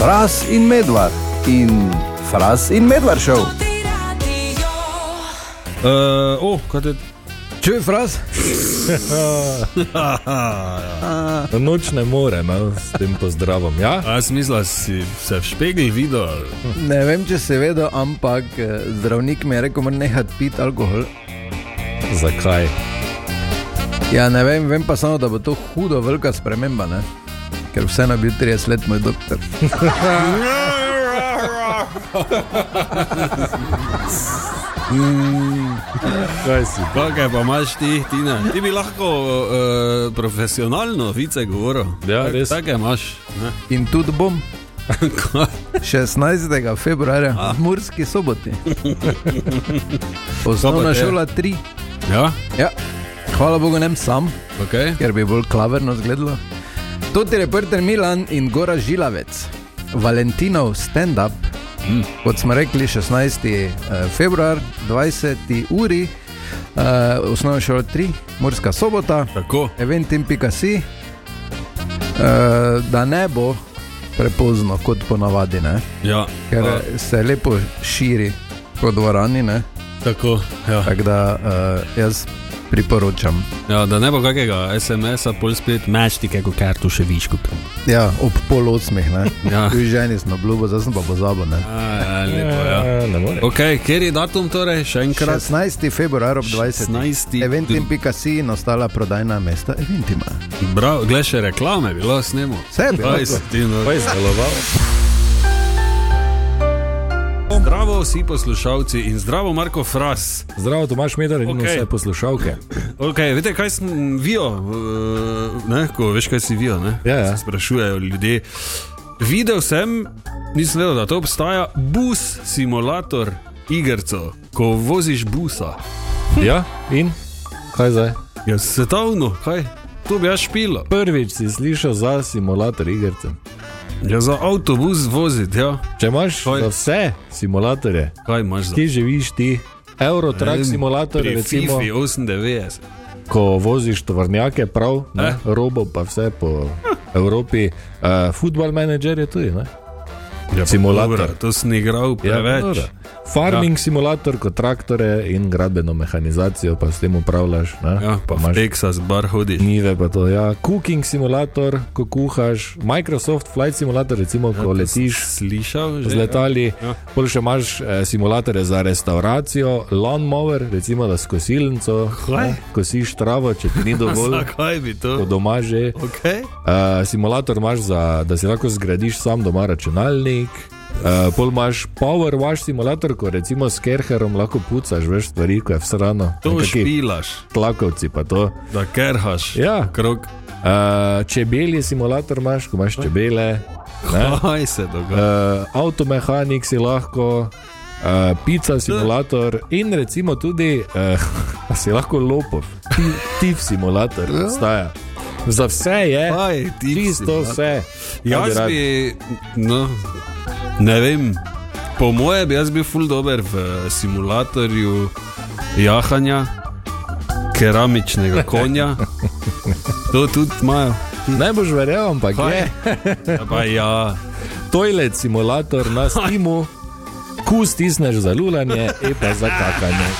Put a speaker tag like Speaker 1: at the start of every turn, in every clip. Speaker 1: Fras in medvard in fras in medvard šel.
Speaker 2: Ti radio,
Speaker 3: Uh, oh, kaj je?
Speaker 1: Čuj, fras?
Speaker 4: Noč ne more, no, s tem pozdravom. Ja?
Speaker 3: A jaz mislim, da si se v špegli videl. ali?
Speaker 1: Ne vem, če se vedo, ampak eh, zdravnik mi je rekel, moram nehati piti alkohol.
Speaker 4: Zakaj?
Speaker 1: Ja, ne vem, vem pa samo, da bo to hudo velika sprememba, ne? ker vseeno je bil 30 let moj doktor.
Speaker 4: Kaj si?
Speaker 3: Pa kaj pa imaš ti, Tina? Ti bi lahko uh, profesionalno vice govoril.
Speaker 4: Ja,
Speaker 3: Tak-
Speaker 4: res.
Speaker 3: Take imaš. ne?
Speaker 1: In tudi bom
Speaker 3: Kaj?
Speaker 1: 16. februarja v Murski soboti. Osnovna
Speaker 3: Sobote.
Speaker 1: šola 3.
Speaker 3: ja,
Speaker 1: Ja. Hvala Bogu, ne sam,
Speaker 3: ok.
Speaker 1: ker bi bolj klaverno izgledalo. To je reporter Milan in Gora Žilavec, Valentinov stand-up. Mm. Kot smo rekli, 16. eh, februar, 20. uri, uh, osnovna šola 3, Murska sobota.
Speaker 3: Tako.
Speaker 1: eventim.si, uh, da ne bo prepozno, kot ponavadi, ne?
Speaker 3: Ja,
Speaker 1: ker
Speaker 3: pa,
Speaker 1: uh. se lepo širi po dvorani. ne.
Speaker 3: tako. Ja.
Speaker 1: Tako da uh, jaz priporočam.
Speaker 3: Ja, da ne bo kakega SMS-a, pol spet meštike, kot kar tu še viš kupim.
Speaker 1: Ja, ob pol osmih, ne.
Speaker 3: Ja.
Speaker 1: Pri ženi smo obljubo, zdaj sem pa pozabil. Ne?
Speaker 3: Ja, lepo, ja.
Speaker 4: Eh, Ne more.
Speaker 3: Ok, kjer je datum torej? Še enkrat.
Speaker 1: 16. februar ob 20.
Speaker 3: 16.
Speaker 1: Eventim.si in ostala prodajna mesta Eventima.
Speaker 3: Bravo, glej še reklame, bilo no. snemo.
Speaker 1: Sebi.
Speaker 4: Pa je zdeloval.
Speaker 3: Zdravo vsi poslušalci in zdravo Marko Fras.
Speaker 4: Zdravo, Tomaš Medar in
Speaker 3: Okej.
Speaker 4: okay. vse poslušalke.
Speaker 3: Okay, veste, kaj sem vijo? eh, Ne, ko veš, kaj si vijo, ne?
Speaker 4: Ja, ja.
Speaker 3: Se Sprašujejo ljudje. Videl sem, nisem vedel, da to obstaja, bus simulator igrico, ko voziš busa.
Speaker 4: Ja, in kaj zdaj?
Speaker 3: Ja, svetovno, kaj? To bi jaz špilo.
Speaker 4: Prvič si slišal za simulator igrice.
Speaker 3: Ja, za avtobus voziti, ja.
Speaker 4: Če imaš
Speaker 3: Kaj?
Speaker 4: za vse simulatorje,
Speaker 3: Kaj imaš za
Speaker 4: ti živiš ti. Eurotrack simulator,
Speaker 3: Eh, Pri
Speaker 4: recimo,
Speaker 3: FIFI 98.
Speaker 4: ko voziš tovrnjake, prav, ne,
Speaker 3: Eh.
Speaker 4: eh? robo pa vse po Evropi. Uh, Football manager je tudi, ne?
Speaker 3: Ja, pa
Speaker 4: Simulator.
Speaker 3: dobro, To sem igral preveč.
Speaker 4: Ja, dobro. Farming ja. simulator, kot traktore in gradbeno mehanizacijo, pa s tem upravljaš. Ne?
Speaker 3: Ja, pa v Texas bar hodiš.
Speaker 4: Nive pa to, ja. Cooking simulator, ko kuhaš, Microsoft Flight simulator, recimo, ko letiš
Speaker 3: Slišal
Speaker 4: z
Speaker 3: Ja, že?
Speaker 4: letali,
Speaker 3: Ja.
Speaker 4: ja. pol še imaš eh, simulatorje za restauracijo, lawnmower, recimo, da s kosilnico,
Speaker 3: Kaj?
Speaker 4: ne, kosiš travo, če ti ni dovolj,
Speaker 3: Zakaj bi
Speaker 4: ko
Speaker 3: to?
Speaker 4: doma že.
Speaker 3: Okay.
Speaker 4: Uh, simulator imaš, za, da si lahko zgradiš sam doma računalnik. Uh, pol imaš power wash simulator, ko recimo s kerherom lahko pucaš, veš stvari, ko je vsrano.
Speaker 3: To
Speaker 4: Nekaki
Speaker 3: špilaš,
Speaker 4: Tlakovci pa to.
Speaker 3: da kerhaš.
Speaker 4: Ja.
Speaker 3: Krok.
Speaker 4: Uh, čebelji simulator imaš, ko imaš čebele. Ne?
Speaker 3: Kaj se dogaja?
Speaker 4: Uh, avtomehanik si lahko, uh, pica simulator in recimo tudi uh, si lahko lopov, Ti- tif simulator,
Speaker 3: Ja.
Speaker 4: staja. Za vse je,
Speaker 3: Kaj ti
Speaker 4: čisto
Speaker 3: si,
Speaker 4: vse. Ja,
Speaker 3: Jaz
Speaker 4: rad.
Speaker 3: bi, no, ne vem, po moje bi jaz bil ful dober v eh, simulatorju jahanja, keramičnega konja. To tudi imajo.
Speaker 4: Ne boš verjel, ampak
Speaker 3: Kaj?
Speaker 4: je
Speaker 3: Ja, Pa ja,
Speaker 4: toilet simulator na Steamu, ko stisneš za lulanje, e pa za kakanje.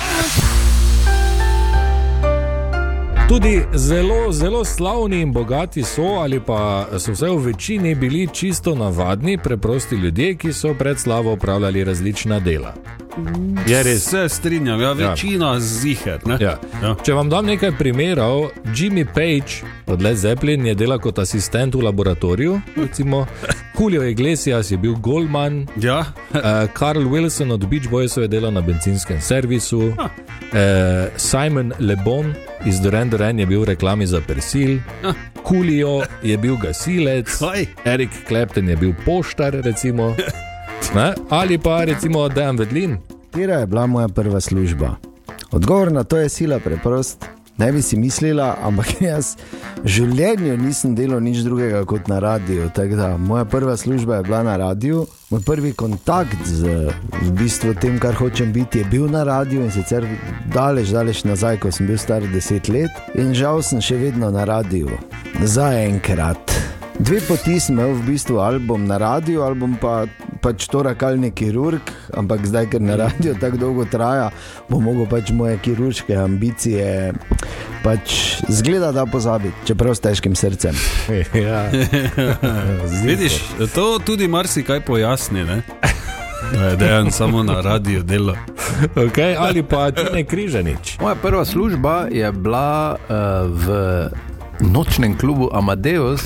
Speaker 4: Tudi zelo, zelo slavni in bogati so, ali pa so vse v večini bili čisto navadni, preprosti ljudje, ki so pred slavo opravljali različna dela. Je res.
Speaker 3: se strinjam, ja, večina ziher. ne?
Speaker 4: Ja.
Speaker 3: Ja.
Speaker 4: Ja. Če vam dam nekaj primerov, Jimmy Page od Led Zeppelin je delal kot asistent v laboratoriju, recimo Julio Iglesias je bil Goldman,
Speaker 3: Ja,
Speaker 4: eh, Carl Wilson od Beach Boysov je delal na bencinskem servisu, eh, Simon Lebon iz Duran Duran je bil v reklami za Persil, Julio je bil gasilec,
Speaker 3: kaj?
Speaker 4: Erik Clapton je bil poštar, recimo. Ne? Ali pa recimo Dejan Vedlin.
Speaker 5: Katera je bila moja prva služba? Odgovor na to je sila preprost. Ne bi si mislila, ampak jaz v življenju nisem delal nič drugega kot na radiju. Tako Da, moja prva služba je bila na radiju, moj prvi kontakt z v bistvu, tem, kar hočem biti, je bil na radiju in sicer daleč, daleč nazaj, ko sem bil star 10 let in žal sem še vedno na radiju. Zaenkrat. Dve poti sem imel, v bistvu album na radiju, album pa pač torakalni kirurg, ampak zdaj, ker na radiju tako dolgo traja, bom mogel pač moje kirurške ambicije pač zgleda, da pozabiti, čeprav s težkim srcem.
Speaker 4: ja.
Speaker 3: Vidiš, to tudi marsikaj pojasni. Ne? Da je dejan samo na radiju delo.
Speaker 4: okay, ali pa ti ne križanič.
Speaker 1: Moja prva služba je bila uh, v nočnem klubu Amadeus.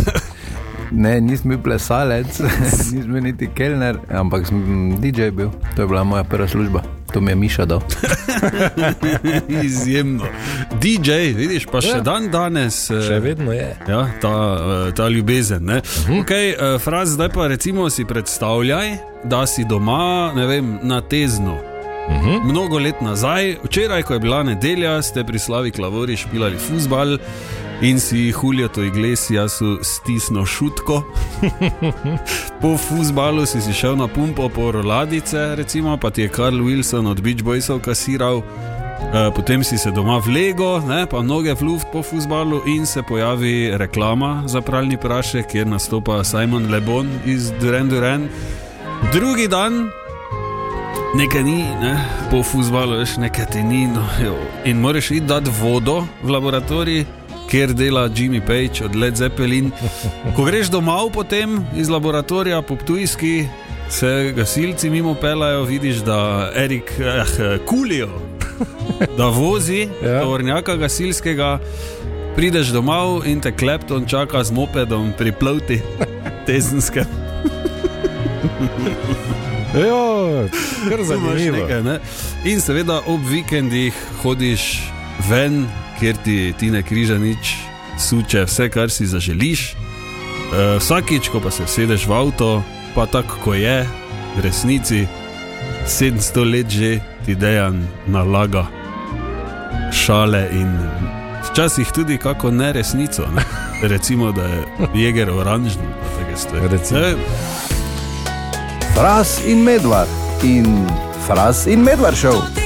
Speaker 1: Ne, nisem bil plesalec, nisem bil niti kelner, ampak sem DJ bil. To je bila moja prva služba, to mi je Miša dal.
Speaker 3: Izjemno. DJ, vidiš, pa še dan danes. eh,
Speaker 4: Še vedno je.
Speaker 3: Ja, ta, eh, ta ljubezen. Uh -huh. okay, Fraz, zdaj pa recimo si predstavljaj, da si doma ne vem, na teznu. Uh -huh. Mnogo let nazaj, včeraj, ko je bila nedelja, ste pri Slavi Klavori špilali fusbal in si Julio to Iglesiasu stisnil šutko. po fusbalu si, si šel na pumpo po roladice, recimo, pa ti je Karl Wilson od Beach Boysov kasiral. Eh, Potem si se doma vlego, ne, pa noge v luft po futbalu in se pojavi reklama za pralni prašek, kjer nastopa Simon Lebon iz Duran Duran. Drugi dan, nekaj ni, ne, po futbalu veš, nekaj ti ni. No, jo. in moraš iti dati vodo v laboratorij, kjer dela Jimmy Page od Led Zeppelin. Ko greš domov potem iz laboratorija po Ptujski, se gasilci mimo pelajo, vidiš, da Erik, eh, kulijo da vozi ja.
Speaker 4: Ja.
Speaker 3: tovornjaka gasilskega, prideš domov in te klepton čaka z mopedom pri plovti, tezenske.
Speaker 4: Ja, kar zanimivo.
Speaker 3: Nekaj, ne? In seveda ob vikendih hodiš ven, kjer ti, ti ne križa nič, suče vse, kar si zaželiš. E, vsakič, ko pa se sedeš v avto, pa tako kot je, v resnici 700 let že ti dejan nalaga šale in včasih tudi kako neresnico. Ne? Recimo, da je jeger oranžen. pa take stvari. Eh,
Speaker 4: Recimo.
Speaker 3: Ne vem.
Speaker 1: Fras in medvard in fras in medvard šel.